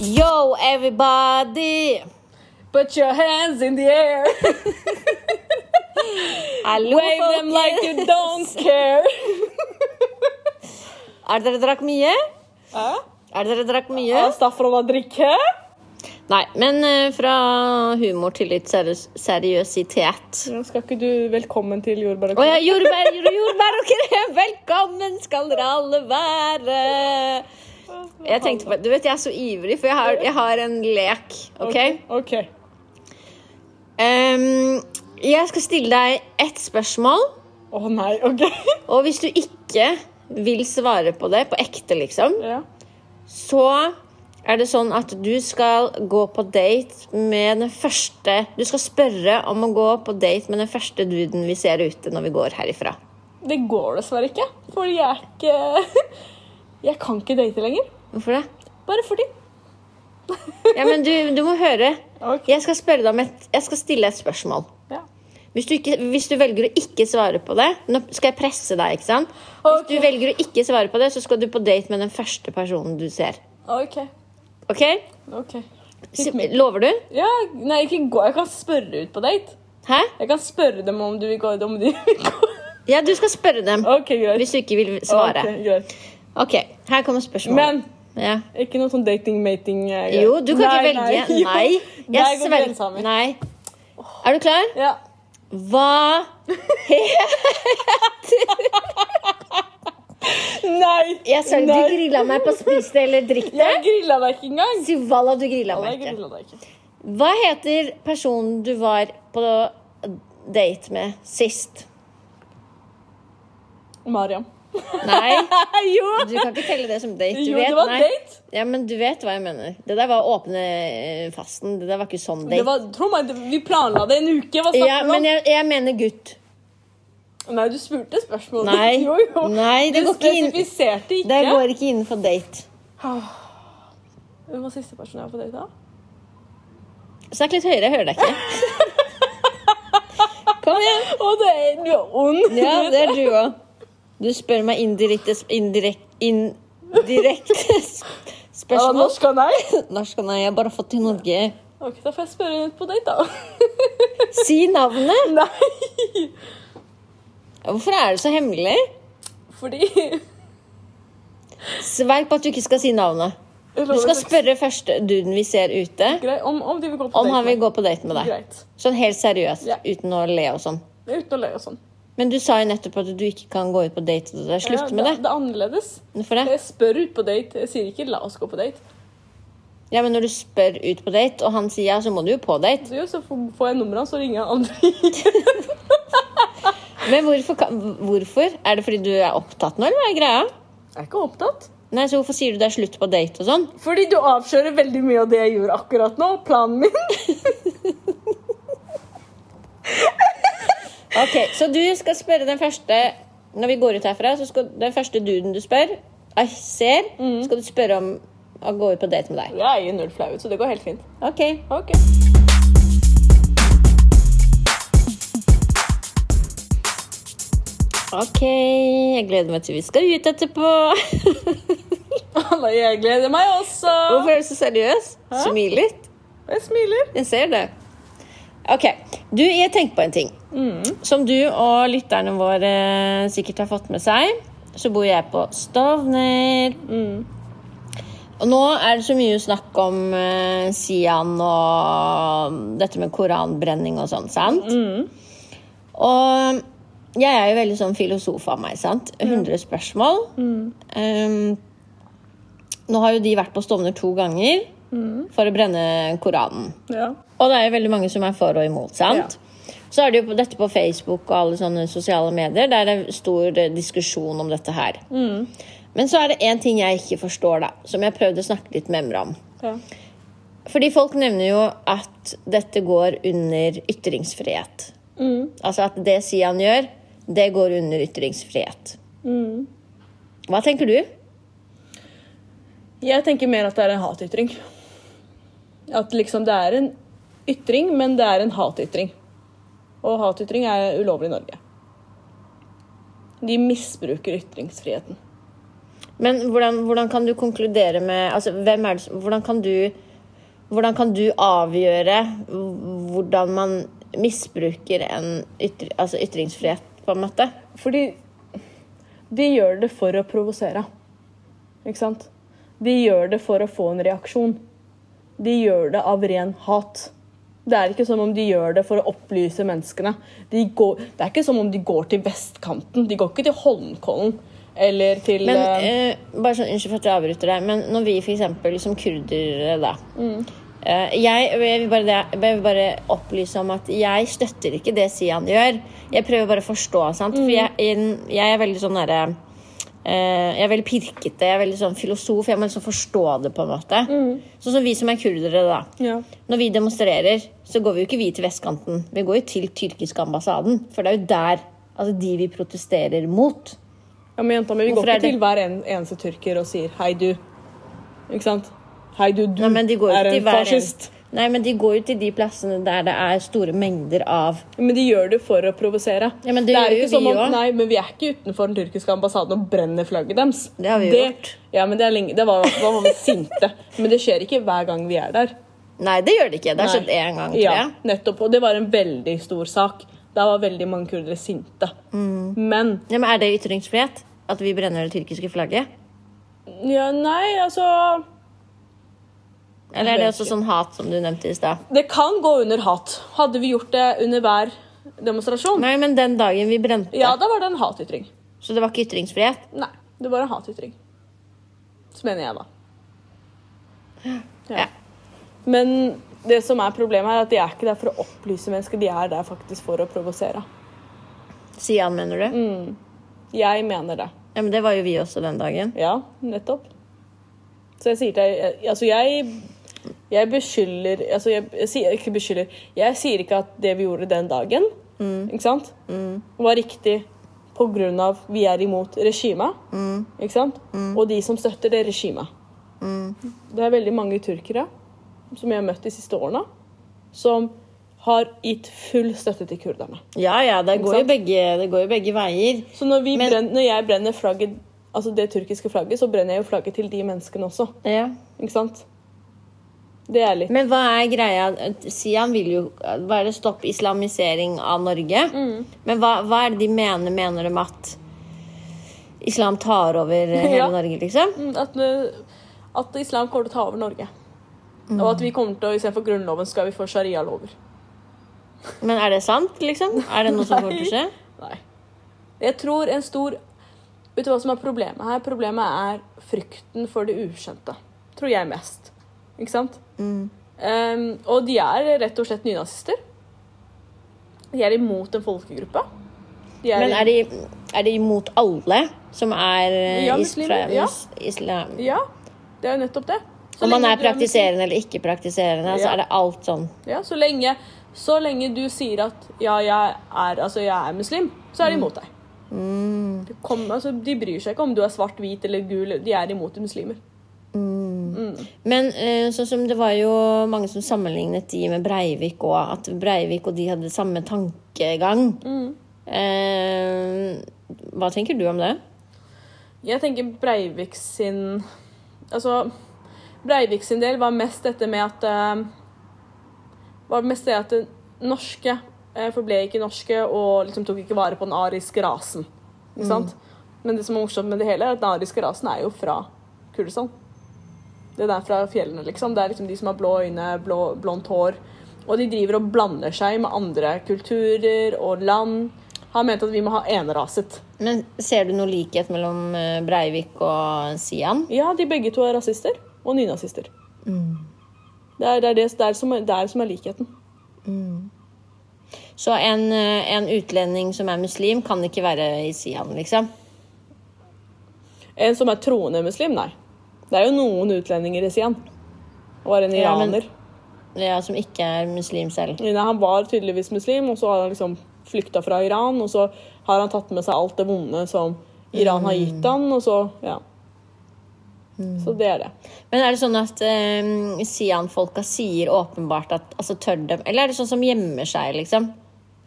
Yo, everybody! Put your hands in the air. Hallo, Wave them like you don't care. Er dere drakk mye? Hæ? Er dere drakk mye? Har Staffan å drikke? Nei, men eh, fra humor til litt seri seriøsitet. Skal ikke du velkommen til jordbæret? Å ja, jordbær, jord- jordbær og krem! Velkommen skal dere alle være! Jeg tenkte på, Du vet, jeg er så ivrig, for jeg har, jeg har en lek. ok? Ok. Em, jeg skal stille deg ett spørsmål, Å nei, ok. og hvis du ikke vil svare på det på ekte, liksom, Ja. så er det sånn at du skal gå på date med den første Du skal spørre om å gå på date med den første duden vi ser ute når vi går herifra. Det går dessverre ikke, fordi jeg er ikke Jeg kan ikke date lenger. Hvorfor det? Bare fordi. Ja, men du, du må høre. Ok. Jeg skal, spørre deg om et, jeg skal stille et spørsmål. Ja. Hvis du, ikke, hvis du velger å ikke svare på det Nå skal jeg presse deg, ikke sant? Hvis Ok. du velger å ikke svare på det, så skal du på date med den første personen du ser. Ok. Ok? Ok. Så, lover du? Ja, nei, ikke gå. Jeg kan spørre ut på date. Hæ? Jeg kan spørre dem om du vil gå om de vil gå. Ja, du skal spørre dem Ok, greit. hvis du ikke vil svare. Ok, greit. Ok, her kommer spørsmålet. Men ja. ikke noe sånn dating-mating. eh, greier. Jo, du kan ikke velge. jo. Nei. Der går svelger- grensa mi. Nei. Er du klar? Ja. Hva Nei! Jeg sa du Nei. grilla meg på spis det eller drikk det. Jeg grilla deg ikke engang. Si Valla, du grilla Jeg meg ikke. grillet deg ikke. Hva heter personen du var på date med sist? Mariam. Nei, jo! du kan ikke telle det som date. Du Jo, vet, det var nei. date. Ja, men du vet hva jeg mener. Det der var åpne eh, fasten. Det der var ikke sånn Det date. var, tro meg, det- vi planla det en uke. Hva snakker Ja, du om? men jeg, jeg mener gutt. Nei, du spurte spørsmålet. Nei. jo, jo. Nei, det du går ikke inn. spesifiserte ikke. Ah. Det går ikke innenfor date. Hvem var siste person jeg var på date med? Snakk litt høyere, jeg hører deg ikke. Kom igjen. Å, det er, du er ond. Ja, det er du òg. Du spør meg indirekte sp- indirek- Indirekte sp- Ja, spørsmål. norsk og nei. Norsk og nei, jeg har bare fått til Norge. Ok, Da får jeg spørre henne ut på date, da. Si navnet. nei! Hvorfor er det så hemmelig? Fordi Sverg på at du ikke skal si navnet. Du skal spørre første duden vi ser ute, Grei, om, om de vil gå på om date. han vil gå på date med deg. Greit. Sånn helt seriøst, Ja. uten å le og sånn. Uten å le og sånn. Men du sa jo nettopp at du ikke kan gå ut på date. og det der. Ja, Slutt med det, det. det er annerledes. Hvorfor det? Jeg spør ut på date. Jeg sier ikke 'la oss gå på date'. Ja, men når du spør ut på date, og han sier ja, så må du jo på date. Så, jo, så får får jeg nummeret hans, så ringer jeg aldri. Men hvorfor, kan- hvorfor? Er det fordi du er opptatt nå, eller hva er greia? Jeg er ikke opptatt. Nei, så hvorfor sier du det er slutt på date og sånn? Fordi du avslører veldig mye av det jeg gjorde akkurat nå. Planen min. Ok, Så du skal spørre den første Når vi går ut herfra, så skal den første duden du spør, eh, ser, skal du spørre om å gå ut på date med deg. Jeg er jo null flau, så det går helt fint. Ok, Ok. ok, jeg gleder meg til vi skal ut etterpå. Alla, jeg gleder meg også. Hvorfor er du så seriøs? Hæ? Smil litt. Jeg smiler. Jeg ser det. Ok, du, jeg tenker på en ting. Som du og lytterne våre eh, sikkert har fått med seg, så bor jeg på Stovner. Og nå er det så mye snakk om eh, Sian og dette med koranbrenning og sånn, sant? Og jeg er jo veldig sånn filosof av meg, sant? 100 spørsmål. Um, nå har jo de vært på Stovner to ganger for å brenne Koranen. Ja. Og det er jo veldig mange som er for og imot, sant? Så er det jo på- dette på Facebook og alle sånne sosiale medier, der det er stor eh, diskusjon om dette her. Men så er det én ting jeg ikke forstår, da, som jeg prøvde å snakke litt med Emre om. ja. Fordi folk nevner jo at dette går under ytringsfrihet. Altså at det Sian gjør, det går under ytringsfrihet. Hva tenker du? Jeg tenker mer at det er en hatytring. At liksom det er en ytring, men det er en hatytring. Og hatytring er ulovlig i Norge. De misbruker ytringsfriheten. Men hvordan, hvordan kan du konkludere med altså, hvem er det, som- hvordan, kan du, hvordan kan du avgjøre hvordan man misbruker en ytr, altså ytringsfrihet, på en måte? Fordi de gjør det for å provosere. Ikke sant? De gjør det for å få en reaksjon. De gjør det av ren hat. Det er ikke som om de gjør det for å opplyse menneskene. De går, det er ikke som om de går til vestkanten. De går ikke til Holmenkollen eller til Men eh, eh, bare sånn, Unnskyld for at jeg avbryter deg, men når vi for eksempel som kurdere, da eh, jeg, jeg, vil bare, det- jeg vil bare opplyse om at jeg støtter ikke det Sian gjør. Jeg prøver bare å forstå, sant? For jeg, jeg- jeg er veldig sånn derre eh, Jeg er veldig pirkete, jeg er veldig sånn filosof. Jeg må liksom forstå det, på en måte. Sånn som vi som er kurdere, da. ja. Når vi demonstrerer, så går vi jo ikke vi til vestkanten. Vi går jo til tyrkiske ambassaden, for det er jo der altså, de vi protesterer mot. ja, men jenta mi, vi Hvorfor går er ikke det- til hver en, eneste tyrker og sier 'hei, du'. Ikke sant? Hei, du, du Nei, men de går jo er ikke til en hver en- fascist. Nei, men de går jo til de plassene der det er store mengder av Men de gjør det for å provosere. Ja, men det er gjør jo ikke som vi om- også. Nei, men vi er ikke utenfor den tyrkiske ambassaden og brenner flagget deres. Det har vi gjort. Ja, men det, er lenge, det var, da var vi sinte. Men det skjer ikke hver gang vi er der. Nei, det gjør det ikke. Det har skjedd Nei. én gang, tror Ja, jeg. nettopp. Og det var en veldig stor sak. Da var veldig mange kurdere sinte. Mm. Men Ja, men er det ytringsfrihet? At vi brenner det tyrkiske flagget? ja, Nei, altså Eller er det vet også sånn hat som du nevnte i stad? Det kan gå under hat. Hadde vi gjort det under hver demonstrasjon, Nei, men den dagen vi brente, ja, da var det en hatytring. så det var ikke ytringsfrihet? Nei, det var en hatytring. Så mener jeg, da. Ja. Men det som er problemet her, er at de er ikke der for å opplyse mennesker, de er der faktisk for å provosere. Sian, mener du? Jeg mener det. Ja, men det var jo vi også den dagen. Ja, nettopp. Så jeg sier til deg Altså, jeg Jeg beskylder Altså, jeg, jeg sier ikke beskylder Jeg sier ikke at det vi gjorde den dagen, ikke sant, var riktig på grunn av vi er imot regimet, ikke sant, og de som støtter det regimet. Det er veldig mange turkere som jeg har møtt de siste årene, som har gitt full støtte til kurderne. Ja ja, det går jo sant? begge, det går jo begge veier. Så når, vi Men- brenner, når jeg brenner flagget, altså det tyrkiske flagget, så brenner jeg jo flagget til de menneskene også. Ja. Ikke sant? Det er litt Men hva er greia? Sian vil jo bare stoppe islamisering av Norge. Mm. Men hva, hva er det de mener? Mener de at islam tar over eh, hele Ja. Norge, liksom? Mm, at, eh, at islam kommer til å ta over Norge. Og at vi kommer til å, istedenfor grunnloven, skal vi få sharialover. Men er det sant, liksom? Er det noe som kommer til å skje? Nei. Jeg tror en stor Vet du hva som er problemet her? Problemet er frykten for det ukjente. Tror jeg mest. Ikke sant? Ehm, og de er rett og slett nynazister. De er imot en folkegruppe. De Men er de, er de imot alle som er eh, Ja, is- muslimer, fra ja. mus- islam? Ja, det er jo nettopp det. Så Om man lenge er du muslim- praktiserende eller ikke praktiserende, så Ja. er det alt sånn. Ja, så lenge, så lenge du sier at ja, jeg er, altså, jeg er muslim, så er de imot deg. Det kom- altså, de bryr seg ikke om du er svart, hvit eller gul. De er imot muslimer. Men eh, sånn som det var jo mange som sammenlignet de med Breivik og at Breivik og de hadde samme tankegang. Eh, hva tenker du om det? Jeg tenker Breivik sin Altså, Breivik sin del var mest dette med at eh, Var mest det at det norske eh, forble ikke norske og liksom tok ikke vare på den ariske rasen. Ikke sant? Men det som er morsomt med det hele, er at den ariske rasen er jo fra Kurdistan. Den er fra fjellene, liksom. Det er liksom de som har blå øyne, blå, blondt hår. Og de driver og blander seg med andre kulturer og land. Han mente at vi må ha enraset. Men Ser du noe likhet mellom eh, Breivik og Sian? Ja, de begge to er rasister og nynazister. Mm. Det, er, det, er det, det, er som, er- det er som er likheten. Så en, eh, en utlending som er muslim, kan ikke være i Sian, liksom? En som er troende muslim, nei. Det er jo noen utlendinger i Sian. Han var en Ja, men- iraner. Ja, Som ikke er muslim selv. Nei, Han var tydeligvis muslim, og så har han liksom flykta fra Iran. Og så har han tatt med seg alt det vonde som Iran har Mm. gitt han, og så Ja. Så det er det. Men er det sånn at eh, Sian-folka sier åpenbart at altså, tør dem Eller er det sånn som gjemmer seg, liksom?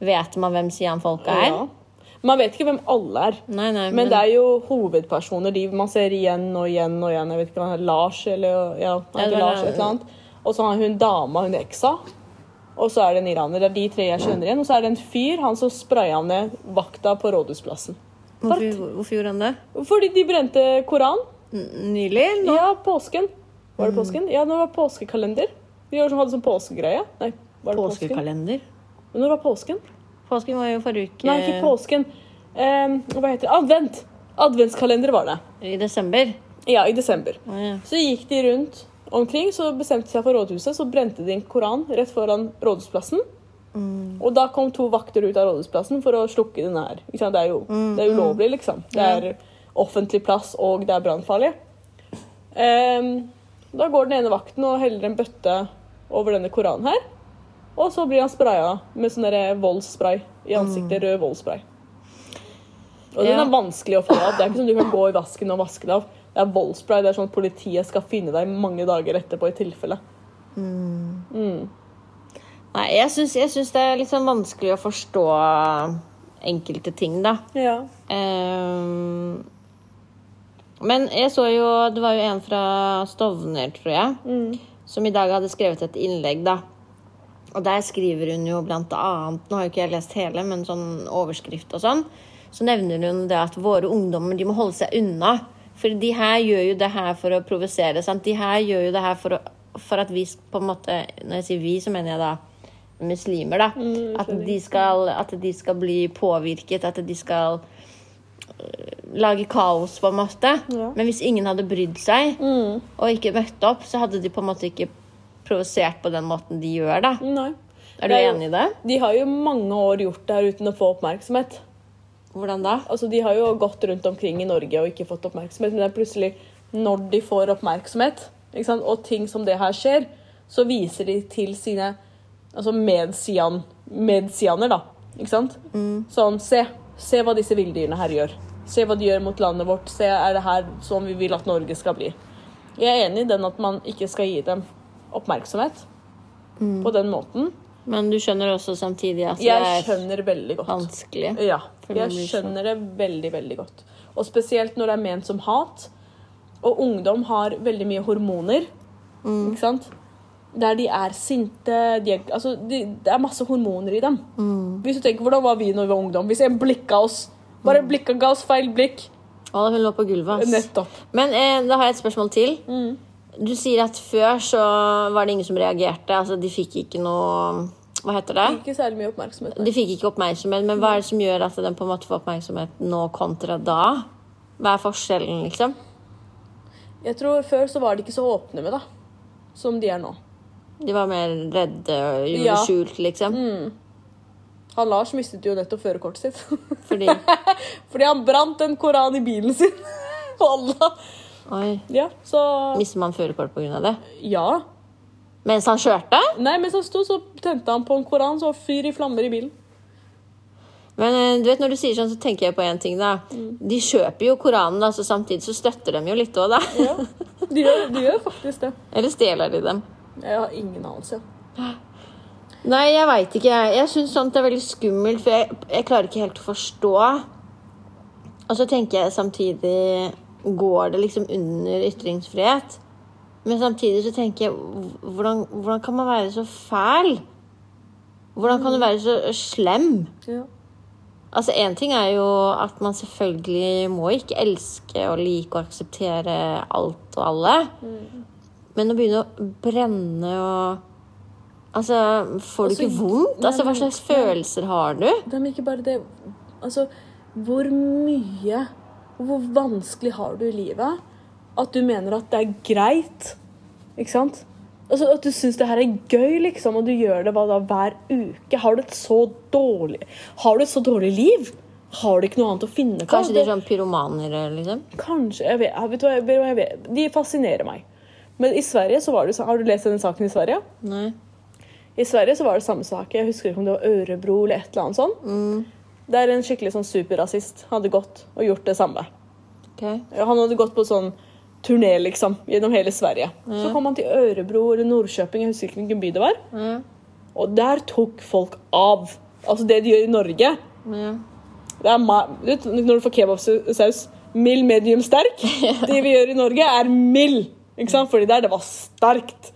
Vet man hvem Sian-folka er? Ja. Man vet ikke hvem alle er. Nei, nei, Men det er jo hovedpersoner de man ser igjen og igjen og igjen. Jeg vet ikke hva han er, Lars eller ja, han Ja, det heter var Lars Lars. et eller annet. Og så har hun dama, hun eksa. Og så er det en iraner. Det er de tre jeg skjønner igjen. Og så er det en fyr, han som spraya ned vakta på Rådhusplassen. hvorfor, hvorfor gjorde han det? Fordi de brente Koran. N- Nylig? eller nå? Ja, påsken. Var det påsken? Ja, når det var påskekalender. De var som hadde sånn påskegreie. Nei, var det påsken? Påskekalender. Men når var påsken? Påsken var jo forrige uke. Nei, ikke påsken. Em, hva heter det? Advent. Adventskalender var det. I desember. Ja, i desember. Å, ja. Så gikk de rundt omkring, så bestemte de seg for rådhuset, så brente de en koran rett foran rådhusplassen. Og da kom to vakter ut av rådhusplassen for å slukke den her. Ikke sant? Det er jo det er ulovlig, liksom. Det er offentlig plass, og det er brannfarlig. Ehm, da går den ene vakten og heller en bøtte over denne koranen her. Og så blir han spraya med sånn derre voldsspray i ansiktet. Rød voldsspray. Og den Ja. er vanskelig å få av. Det er ikke som du kan gå i vasken og vaske det av. Det er voldspray. Det er sånn at politiet skal finne deg mange dager etterpå i tilfelle. Nei, jeg syns, jeg syns det er litt sånn vanskelig å forstå enkelte ting, da. Ja. Ehm, men jeg så jo Det var jo en fra Stovner, tror jeg, Mm. som i dag hadde skrevet et innlegg, da. Og der skriver hun jo blant annet Nå har jo ikke jeg lest hele, men sånn overskrift og sånn. Så nevner hun det at våre ungdommer de må holde seg unna. For de her gjør jo det her for å provosere. sant? De her gjør jo det her for, å, for at vi sk- på en måte Når jeg sier vi, så mener jeg da muslimer, da. at, de skal, at de skal bli påvirket. At de skal øh, lage kaos, på en måte. Ja. Men hvis ingen hadde brydd seg, og ikke møtt opp, så hadde de på en måte ikke provosert på den måten de gjør, da. Nei. Er du Det er jo- enig i det? De har jo mange år gjort det her uten å få oppmerksomhet. Hvordan da? Altså, De har jo gått rundt omkring i Norge og ikke fått oppmerksomhet, men det er plutselig når de får oppmerksomhet, ikke sant? og ting som det her skjer, så viser de til sine altså medsian, medsianer, da. Ikke sant? Mm. Sånn, se. Se hva disse villdyrene her gjør. Se hva de gjør mot landet vårt. Se, er det her som vi vil at Norge skal bli? Jeg er enig i den at man ikke skal gi dem oppmerksomhet på den måten. Men du skjønner også samtidig at Jeg Mm. det er skjønner veldig godt. vanskelig. Ja, For man blir jeg skjønner det veldig, veldig godt. Og spesielt når det er ment som hat. Og ungdom har veldig mye hormoner. Ikke sant? Der de er sinte de er, altså, de, Det er masse hormoner i dem. Hvis du tenker, Hvordan var vi når vi var ungdom? Hvis en blikka oss Bare blikka ga oss feil blikk. Å, hun lå på gulvet, ass. Nettopp. Men eh, da har jeg et spørsmål til. Mm. Du sier at før så var det ingen som reagerte. Altså, de fikk ikke noe Hva heter det? Ikke særlig mye oppmerksomhet. De fikk ikke oppmerksomhet, men hva er det som gjør at den på en måte får oppmerksomhet nå kontra da? Hva er forskjellen, liksom? Jeg tror Før så var de ikke så åpne med det som de er nå. De var mer redde og gjorde Ja. Mm. skjult, liksom. Han Lars mistet jo nettopp førerkortet sitt. Fordi Fordi han brant en koran i bilen sin. Og alle Oi. Ja, så Mister man førerkort pga. det? Ja. Mens han kjørte? Nei, mens han sto, så tente han på en koran, så fyr i flammer i bilen. Men eh, du vet, når du sier sånn, så tenker jeg på én ting, da. De kjøper jo Koranen, da, så samtidig så støtter de jo litt òg, da. Ja. De gjør, de gjør faktisk det. Eller stjeler de dem? Jeg har ingen anelse. Nei, jeg veit ikke. jeg. Jeg syns sånt er veldig skummelt, for jeg, jeg klarer ikke helt å forstå. Og så tenker jeg samtidig Går det liksom under ytringsfrihet? Men samtidig så tenker jeg hv- Hvordan, hvordan kan man være så fæl? Hvordan kan du være så slem? Ja. Altså, Én ting er jo at man selvfølgelig må ikke elske og like og akseptere alt og alle. Mm. Men å begynne å brenne og Altså, får du Altså, ikke vondt? nei, Altså, Hva nei, slags nei. følelser har du? Det er ikke bare det Altså, hvor mye Hvor vanskelig har du i livet at du mener at det er greit? Ikke sant? Altså, At du syns det her er gøy, liksom, og du gjør det hva da, hver uke. Har du et så dårlig Har du et så dårlig liv? Har du ikke noe annet å finne på? Kanskje de Det- er sånn pyromaner, liksom? Kanskje. Jeg vet, jeg vet, hva jeg, vet, hva jeg vet. De fascinerer meg. Men i Sverige så var det sånn Har du lest denne saken i Sverige? Nei. I Sverige så var det samme sak. Jeg husker ikke om det var Ørebro eller et eller annet sånt. Mm. Der en skikkelig sånn superrasist hadde gått og gjort det samme. ok. Han hadde gått på sånn turné, liksom, gjennom hele Sverige. Mm. Så kom han til Ørebro eller Nordkjøping, jeg husker ikke hvilken by det var. Ja, Og der tok folk av. Altså det de gjør i Norge, ja. Det er ma du vet, når du får kebabsaus mild, medium, sterk Det vi gjør i Norge, er mild. Ikke sant? Fordi der, det var sterkt.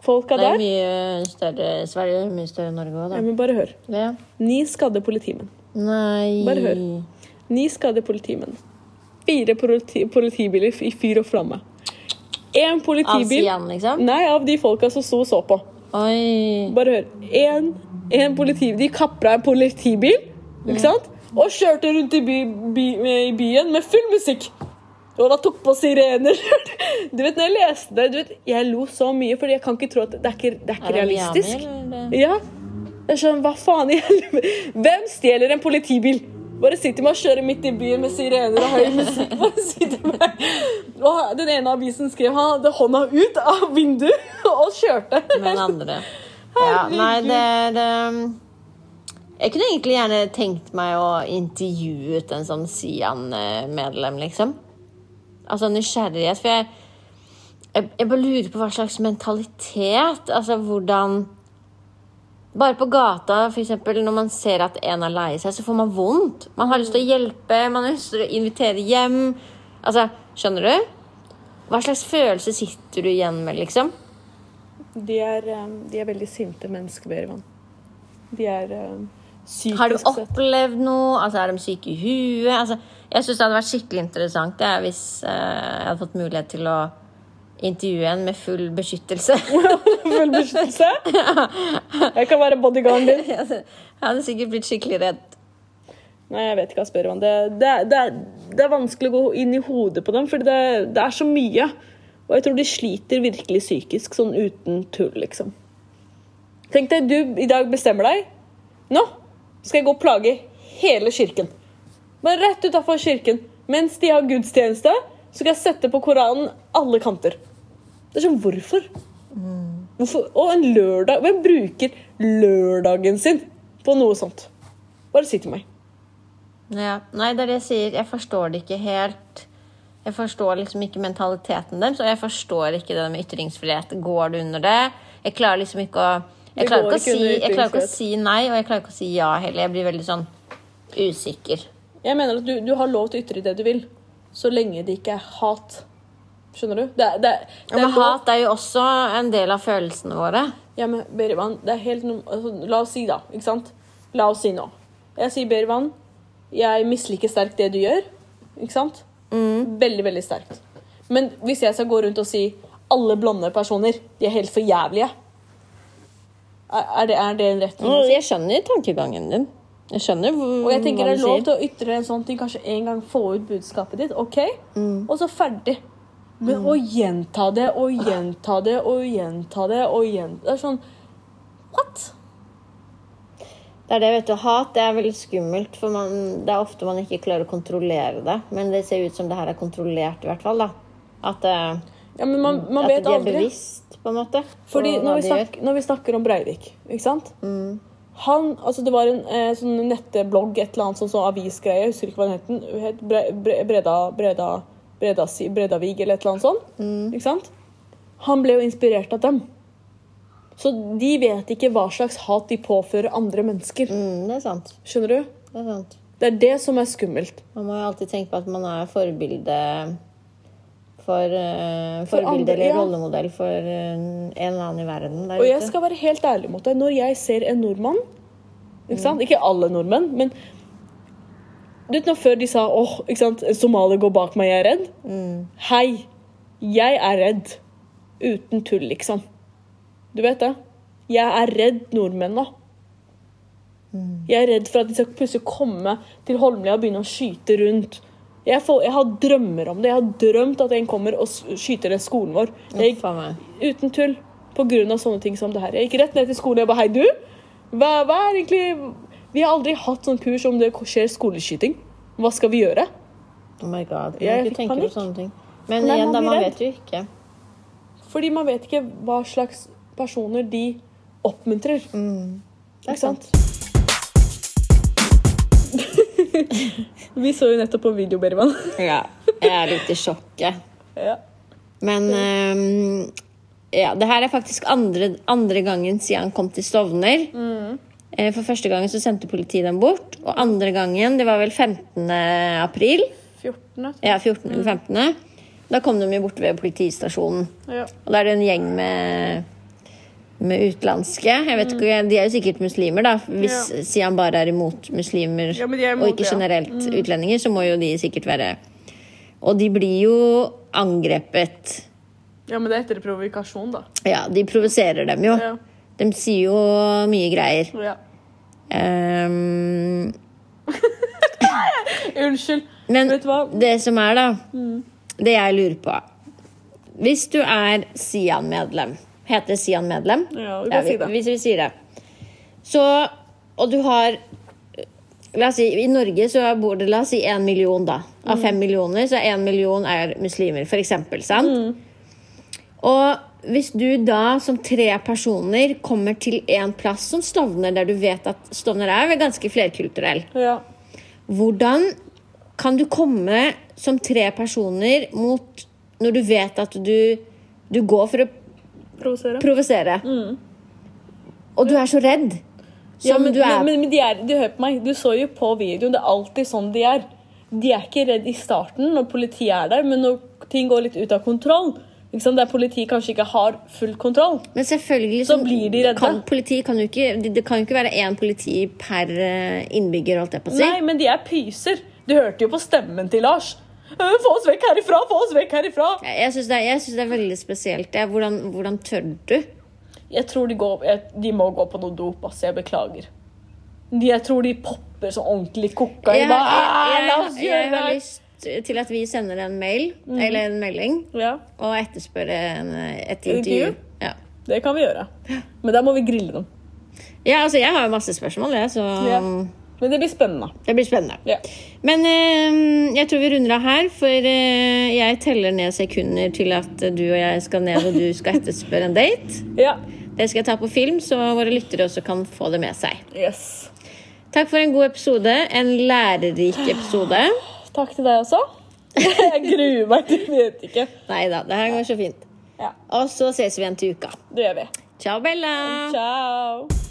Folka Mm. Det er der mye større Sverige, er mye større enn Norge òg, ja, men Bare hør. da. Ja. Ni skadde politimenn. Nei Bare hør. Ni skadde politimenn. Fire politi politibiler i fyr og flamme. Én Av politibil Sian, liksom? Nei, av de folka som sto og så på. Oi. Bare hør. En, en politi, de kapra en politibil, ikke Mm. sant? Og kjørte rundt i, by, by, i byen med full musikk. Og da tok på sirener. Du vet, når jeg leste det, du vet, jeg lo så mye, fordi jeg kan ikke tro at det er ikke, det er ikke Er det realistisk. Miami, eller? Ja. Det er sånn, hva faen i helvete? Hvem stjeler en politibil? Bare sitter med og kjører midt i byen med sirener og høy musikk. Bare sitter med. Og den ene avisen skrev han hadde hånda ut av vinduet og kjørte. Men andre ja, Nei, det er ehm, Jeg kunne egentlig gjerne tenkt meg å intervjuet en sånn Sian-medlem, liksom. Altså nysgjerrighet, for jeg jeg, jeg bare lurer på hva slags mentalitet Altså hvordan Bare på gata, for eksempel, når man ser at en er lei seg, så får man vondt. Man har lyst til å hjelpe, man har lyst til å invitere hjem. Altså, skjønner du? Hva slags følelse sitter du igjen med, liksom? De er, eh, de er veldig sinte mennesker, Berivan. De er eh, psykisk Har de sett- opplevd noe? Altså, er de syke i huet? Altså, jeg syns det hadde vært skikkelig interessant det, hvis eh, jeg hadde fått mulighet til å intervjue en med full beskyttelse. Full beskyttelse. Jeg kan være bodyguarden din. jeg hadde sikkert blitt skikkelig redd. Nei, jeg vet ikke, ass, Berivan. Det, det, er- det, er- det er vanskelig å gå inn i hodet på dem, for det, det er så mye. Og jeg tror de sliter virkelig psykisk, sånn uten tull, liksom. Tenk deg, du i dag bestemmer deg. Nå skal jeg gå og plage hele kirken. Men rett utafor kirken, mens de har gudstjeneste, så skal jeg sette på Koranen alle kanter. Det er sånn, hvorfor? hvorfor? Og en lørdag Hvem bruker lørdagen sin på noe sånt? Bare si til meg. Ja. Nei, det er det jeg sier. Jeg forstår det ikke helt. Jeg forstår liksom ikke mentaliteten deres, og jeg forstår ikke det med ytringsfrihet. Går du under det? Jeg klarer liksom ikke å jeg Det klarer ikke, å går ikke si, under jeg klarer ikke å ytringsfrihet. si nei, og jeg klarer ikke å si ja heller. Jeg blir veldig sånn usikker. Jeg mener at du, du har lov til å ytre det du vil, så lenge det ikke er hat. Skjønner du? Det, er- det, er- Ja, det er men lov- hat er jo også en del av følelsene våre. Ja, men Berivan, det er helt no- altså, La oss si, da. Ikke sant? La oss si nå. Jeg sier, Berivan, jeg misliker sterkt det du gjør. Ikke sant? Mm. Veldig, veldig sterkt. Men hvis jeg skal gå rundt og si alle blonde personer, de er helt for jævlige Er, er, det, er det en rett ting? å si? Jeg skjønner tankegangen din. Jeg skjønner hvor, Og jeg tenker hva det du er lov sier. til å ytre en sånn ting, kanskje en gang få ut budskapet ditt, ok? Mm. Og så ferdig. Men å gjenta det og gjenta det og gjenta det og gjenta Det er sånn What? Det er det, vet du. Hat det er veldig skummelt, for man, det er ofte man ikke klarer å kontrollere det. Men det ser ut som det her er kontrollert, i hvert fall. da. At, eh, Ja, men man, man at vet de er aldri. bevisst, på en måte. på Fordi hva når vi, de gjør. Mm. snak, når vi snakker om Breivik, ikke sant Han, altså Det var en eh, sånn nettblogg, et eller annet sånn, sånn avisgreie, jeg husker ikke hva den het. den het Bre, Bre, Breda, Breda, Breda, Bredavig eller et eller annet sånt. Mm. Ikke sant? Han ble jo inspirert av dem. Så de vet ikke hva slags hat de påfører andre mennesker. mm, Det er sant. Skjønner du? Det er sant. Det er det som er skummelt. Man må jo alltid tenke på at man er forbilde for, eh, For Forbilde andre, eller ja. rollemodell for eh, en eller annen i verden der Og jeg skal være helt ærlig mot deg. Når jeg ser en nordmann Ikke sant? Ikke alle nordmenn, men du vet nå Før de sa åh, ikke sant, en somalier går bak meg, jeg er redd. Hei, jeg er redd. Uten tull, liksom. Du vet det? Jeg er redd nordmenn nå. Jeg er redd for at de skal plutselig komme til Holmlia og begynne å skyte rundt. Jeg, får, jeg har drømmer om det. Jeg har drømt at en kommer og s- skyter ned skolen vår. Jeg Uff a meg. Uten tull. På grunn av sånne ting som det her. Jeg gikk rett ned til skolen og jeg bare Hei, du! Hva, hva er egentlig Vi har aldri hatt sånn kurs om det skjer skoleskyting. Hva skal vi gjøre? Oh my god. Jeg Jeg fikk ikke tenke på panikk. sånne ting. Men Nei, igjen, man da, blir man redd. vet jo ikke. Fordi man vet ikke hva slags personer de oppmuntrer. Det er Ikke sant. Mm. sant? Vi så jo nettopp på video, Berivan. Ja. Jeg er litt i sjokket. ja. Men ehm, ja, det her er faktisk andre, andre gangen siden han kom til Stovner. Eh, For første gangen så sendte politiet dem bort. Og andre gangen, det var vel 15. april, 14. ja, 14. eller 15. Da kom de jo bort ved politistasjonen. Ja. Og da er det en gjeng med, med utenlandske. Jeg vet ikke, De er jo sikkert muslimer, da. Hvis Ja. Sian bare er imot muslimer Ja, men de er imot, og ikke ja. Mm. generelt utlendinger, så må jo de sikkert være Og de blir jo angrepet. ja, men det heter provokasjon, da. Ja, de provoserer dem jo. Ja. De sier jo mye greier. ja. Ehm, Unnskyld. men Vet du hva? Mm. det som er, da Det jeg lurer på Hvis du er Sian-medlem Heter Sian-medlem? Ja, vi kan si det. Hvis vi sier det. Så Og du har La oss si, I Norge så bor det la oss si én million, da. Mm. Av fem millioner, så én million er muslimer, for eksempel. Sant? Mm. Og hvis du da som tre personer kommer til en plass som Stovner, der du vet at Stovner er vel ganske flerkulturell, Ja. hvordan kan du komme som tre personer mot Når du vet at du, du går for å Provosere. provosere? Og du er så redd som Mm. ja, men, du er. men, men, men de er de, Hør på meg, du så jo på videoen. Det er alltid sånn de er. De er ikke redd i starten når politiet er der, men når ting går litt ut av kontroll, ikke sant, der politiet kanskje ikke har full kontroll men selvfølgelig så blir de redde. Kan, politi kan jo ikke, det, det kan jo ikke være én politi per eh, innbygger, holdt jeg på å si. Nei, men de er pyser. Du hørte jo på stemmen til Lars. «Øh, Få oss vekk herifra! Få oss vekk herifra! Jeg- Jeg syns det, er- jeg synes det er veldig spesielt. det. hvordan, hvordan tør du? Jeg tror de, går, jeg, de må gå på noe dop, ass. Jeg beklager. De, jeg tror de popper så ordentlig kokka i Jeg, dag. jeg, La oss jeg, jeg gjøre har det! Mm. lyst til at vi sender en mail eller en melding Ja, og etterspør en, eh, et Intervju? intervju. Ja. det kan vi gjøre. Men da må vi grille dem. ja, altså jeg har jo masse spørsmål, jeg, så Ja. Mm. Men det blir spennende. det blir spennende. Ja. Men eh, jeg tror vi runder av her, for eh, jeg teller ned sekunder til at du og jeg skal ned, og du skal etterspørre en date. ja. Det skal jeg ta på film, så våre lyttere også kan få det med seg. Yes. Takk for en god episode. En lærerik episode. Takk til deg også. Jeg gruer meg, du vet ikke. Nei da, det her går så fint. Ja. Og så ses vi igjen til uka. Det gjør vi. Ciao, Bella! Ciao.